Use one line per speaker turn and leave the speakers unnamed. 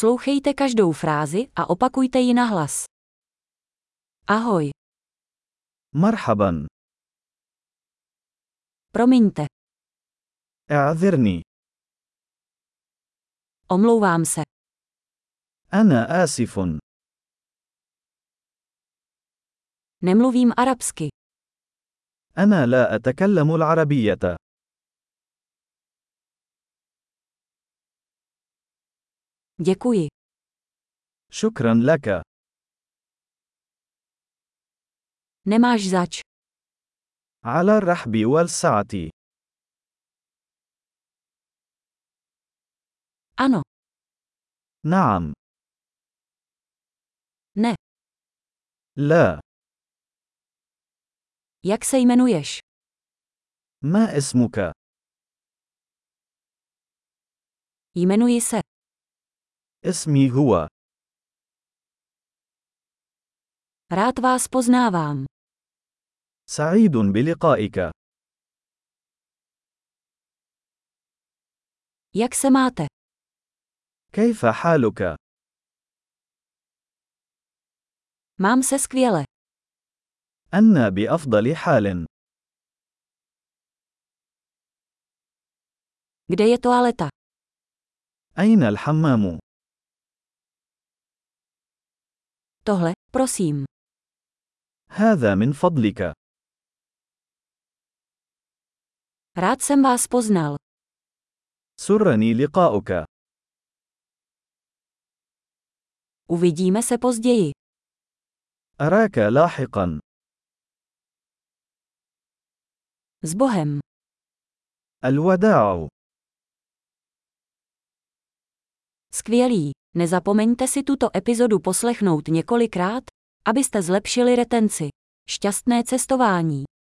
Poslouchejte každou frázi a opakujte ji na hlas. Ahoj,
مرحبا
promiňte,
اعذرني
omlouvám se,
انا اسف
nemluvím arabsky,
انا لا اتكلم العربيه
děkuji,
شكرا لك
nemáš zač.
على الرحب والسعه
Ano,
نعم
Ne.
لا
jak se jmenuješ?
ما اسمك
Jmenuji se,
اسمي هو
rád vás poznávám.
سعيد بلقائك
Jak se máte?
كيف حالك
Mám se skvěle.
انا بافضل حال
Kde je toaleta?
اين الحمام
Tohle, prosím.
هذا من فضلك
Rád jsem vás poznal.
سرني لقاؤك
Uvidíme se později.
اراك لاحقا
S Bohem.
الوداع
Skvělý. Nezapomeňte si tuto epizodu poslechnout několikrát, abyste zlepšili retenci. Šťastné cestování.